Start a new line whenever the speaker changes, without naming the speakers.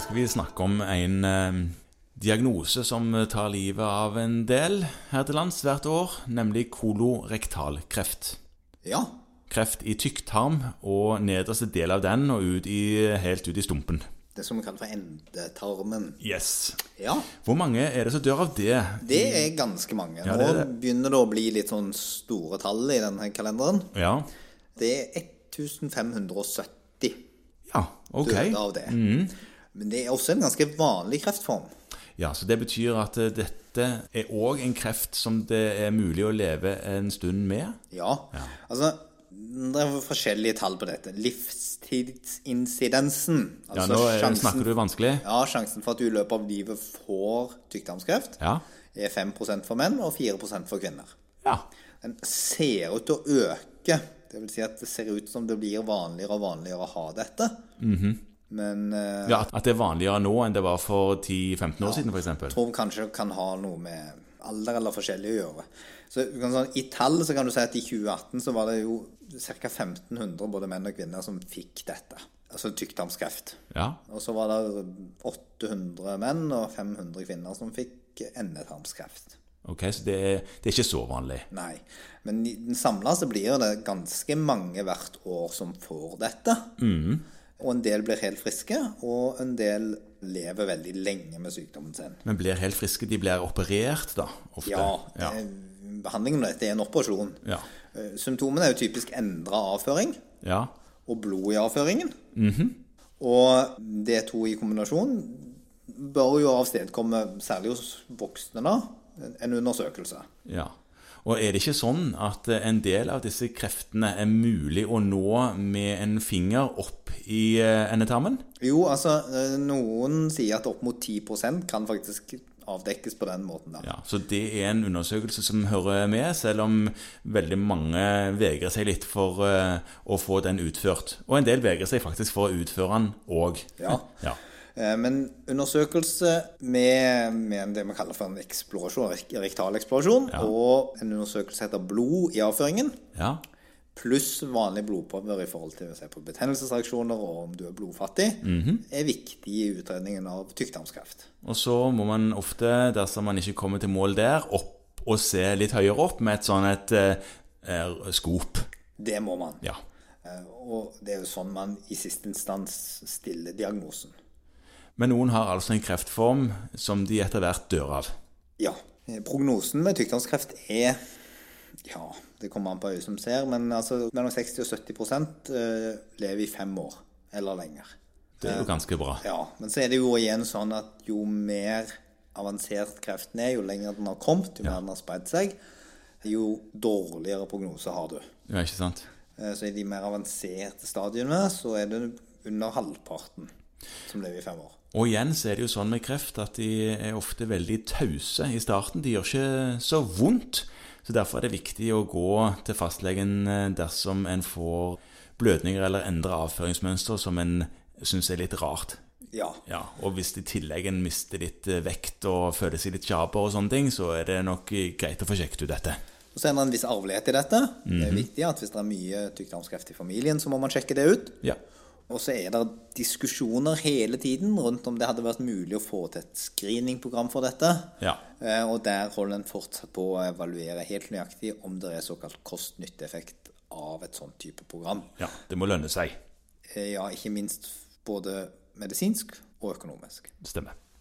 skal vi snakke om en eh, diagnose som eh, tar livet av en del her til lands hvert år, nemlig kolorektalkreft.
Ja.
Kreft i tykktarm og nederste del av den og ut i, eh, helt ut i stumpen.
Det som vi kaller for endetarmen.
Yes.
Ja,
Hvor mange er det som dør av det?
det er ganske mange.
Mm. Ja,
Nå
det er det.
begynner det å bli litt sånn store tall i denne kalenderen.
Ja.
Det er 1570
Ja, ok. Mm.
døde av det. Men det er også en ganske vanlig kreftform.
Ja, så det betyr at eh, dette er òg en kreft som det er mulig å leve en stund med?
Ja. Altså, det er forskjellige tall på dette. Livstidsinsidensen,
Ja,
altså
nå eh,
sjansen,
snakker du vanskelig.
ja, sjansen for at du i løpet av livet får tykktarmskreft,
Ja.
er 5 for menn og 4 for kvinner.
Ja.
Den ser ut til å øke. Det vil si at det ser ut som det blir vanligere og vanligere å ha dette. Men eh,
ja at- at det er vanligere nå enn det var for 10-15 år siden, f.eks.
tror kanskje det kan ha noe med alder eller forskjellig å gjøre. Så du kan sånn, I tall så kan du si at i 2018 så var det jo ca. 1500 både menn og kvinner som fikk dette. Altså tykktarmskreft.
Ja.
Og så var det 800 menn og 500 kvinner som fikk endetarmskreft.
Ok, så det er, det er ikke så vanlig.
Nei. Men i den samla så blir det ganske mange hvert år som får dette.
Mm.
Og en del blir helt friske, og en del lever veldig lenge med sykdommen sin.
Men blir helt friske. De blir operert, da, ofte.
Ja,
ja.
det- behandlingen av dette er en operasjon.
Ja.
Eh, Symptomene er jo typisk endra avføring
ja.
og blod i avføringen.
Mhm.
Og det to i kombinasjon bør jo avstedkomme, særlig hos voksne, da, en undersøkelse.
Ja. Og er det ikke sånn at eh, en del av disse kreftene er mulig å nå med en finger opp i eh, endetarmen?
Jo, altså, eh, noen sier at opp mot 10 kan faktisk avdekkes på den måten. da.
Ja, Så det er en undersøkelse som hører med, selv om veldig mange vegrer seg litt for eh, å få den utført. Og en del vegrer seg faktisk for å utføre den òg.
Ja.
ja.
Eh, Men undersøkelse med, med det vi kaller for en eksplorasjon, rek- rektal eksplorasjon, og en undersøkelse etter blod i avføringen,
Ja.
pluss vanlige blodprøver i forhold til å se på betennelsesreaksjoner og om du er blodfattig,
Mhm.
er viktig i utredningen av tykktarmskreft.
Og så må man ofte, dersom man ikke kommer til mål der, opp og se litt høyere opp med et sånn et eh, eh, skop.
Det må man.
Ja.
Eh, Og det er jo sånn man i siste instans stiller diagnosen.
Men noen har altså en kreftform som de etter hvert dør av.
Ja. eh, Prognosen med tykktarmskreft er Ja, det kommer an på øyet som ser, men altså mellom 60 og 70 eh, lever i fem år eller lenger.
Det er jo ganske bra.
Ja, men så er det jo igjen sånn at jo mer avansert kreften er, jo lenger den har kommet, jo mer den har spredt seg, jo dårligere prognose har du.
Ja, ikke sant?
Eh, Så i de mer avanserte stadiene så er det under halvparten som lever i fem år.
Og igjen så er det jo sånn med kreft at de er ofte veldig tause i starten. De gjør ikke så vondt. Så derfor er det viktig å gå til fastlegen eh, dersom en får blødninger eller endrer avføringsmønster som en syns er litt rart.
Ja.
Ja, Og hvis i tillegg en mister litt eh, vekt og føler seg litt kjaper og sånne ting, så er det nok eh, greit å få sjekket ut dette.
Og så er det en viss arvelighet i dette. Det er viktig at hvis det er mye tykktarmskreft i familien, så må man sjekke det ut.
Ja.
Og så er det diskusjoner hele tiden rundt om det hadde vært mulig å få til et screeningprogram for dette.
Ja.
Eh, Og der holder en fortsatt på å evaluere helt nøyaktig om det er såkalt kost-nytte-effekt av et sånt type program.
ja. Det må lønne seg.
Eh, Ja, ikke minst både medisinsk og økonomisk.
Stemmer.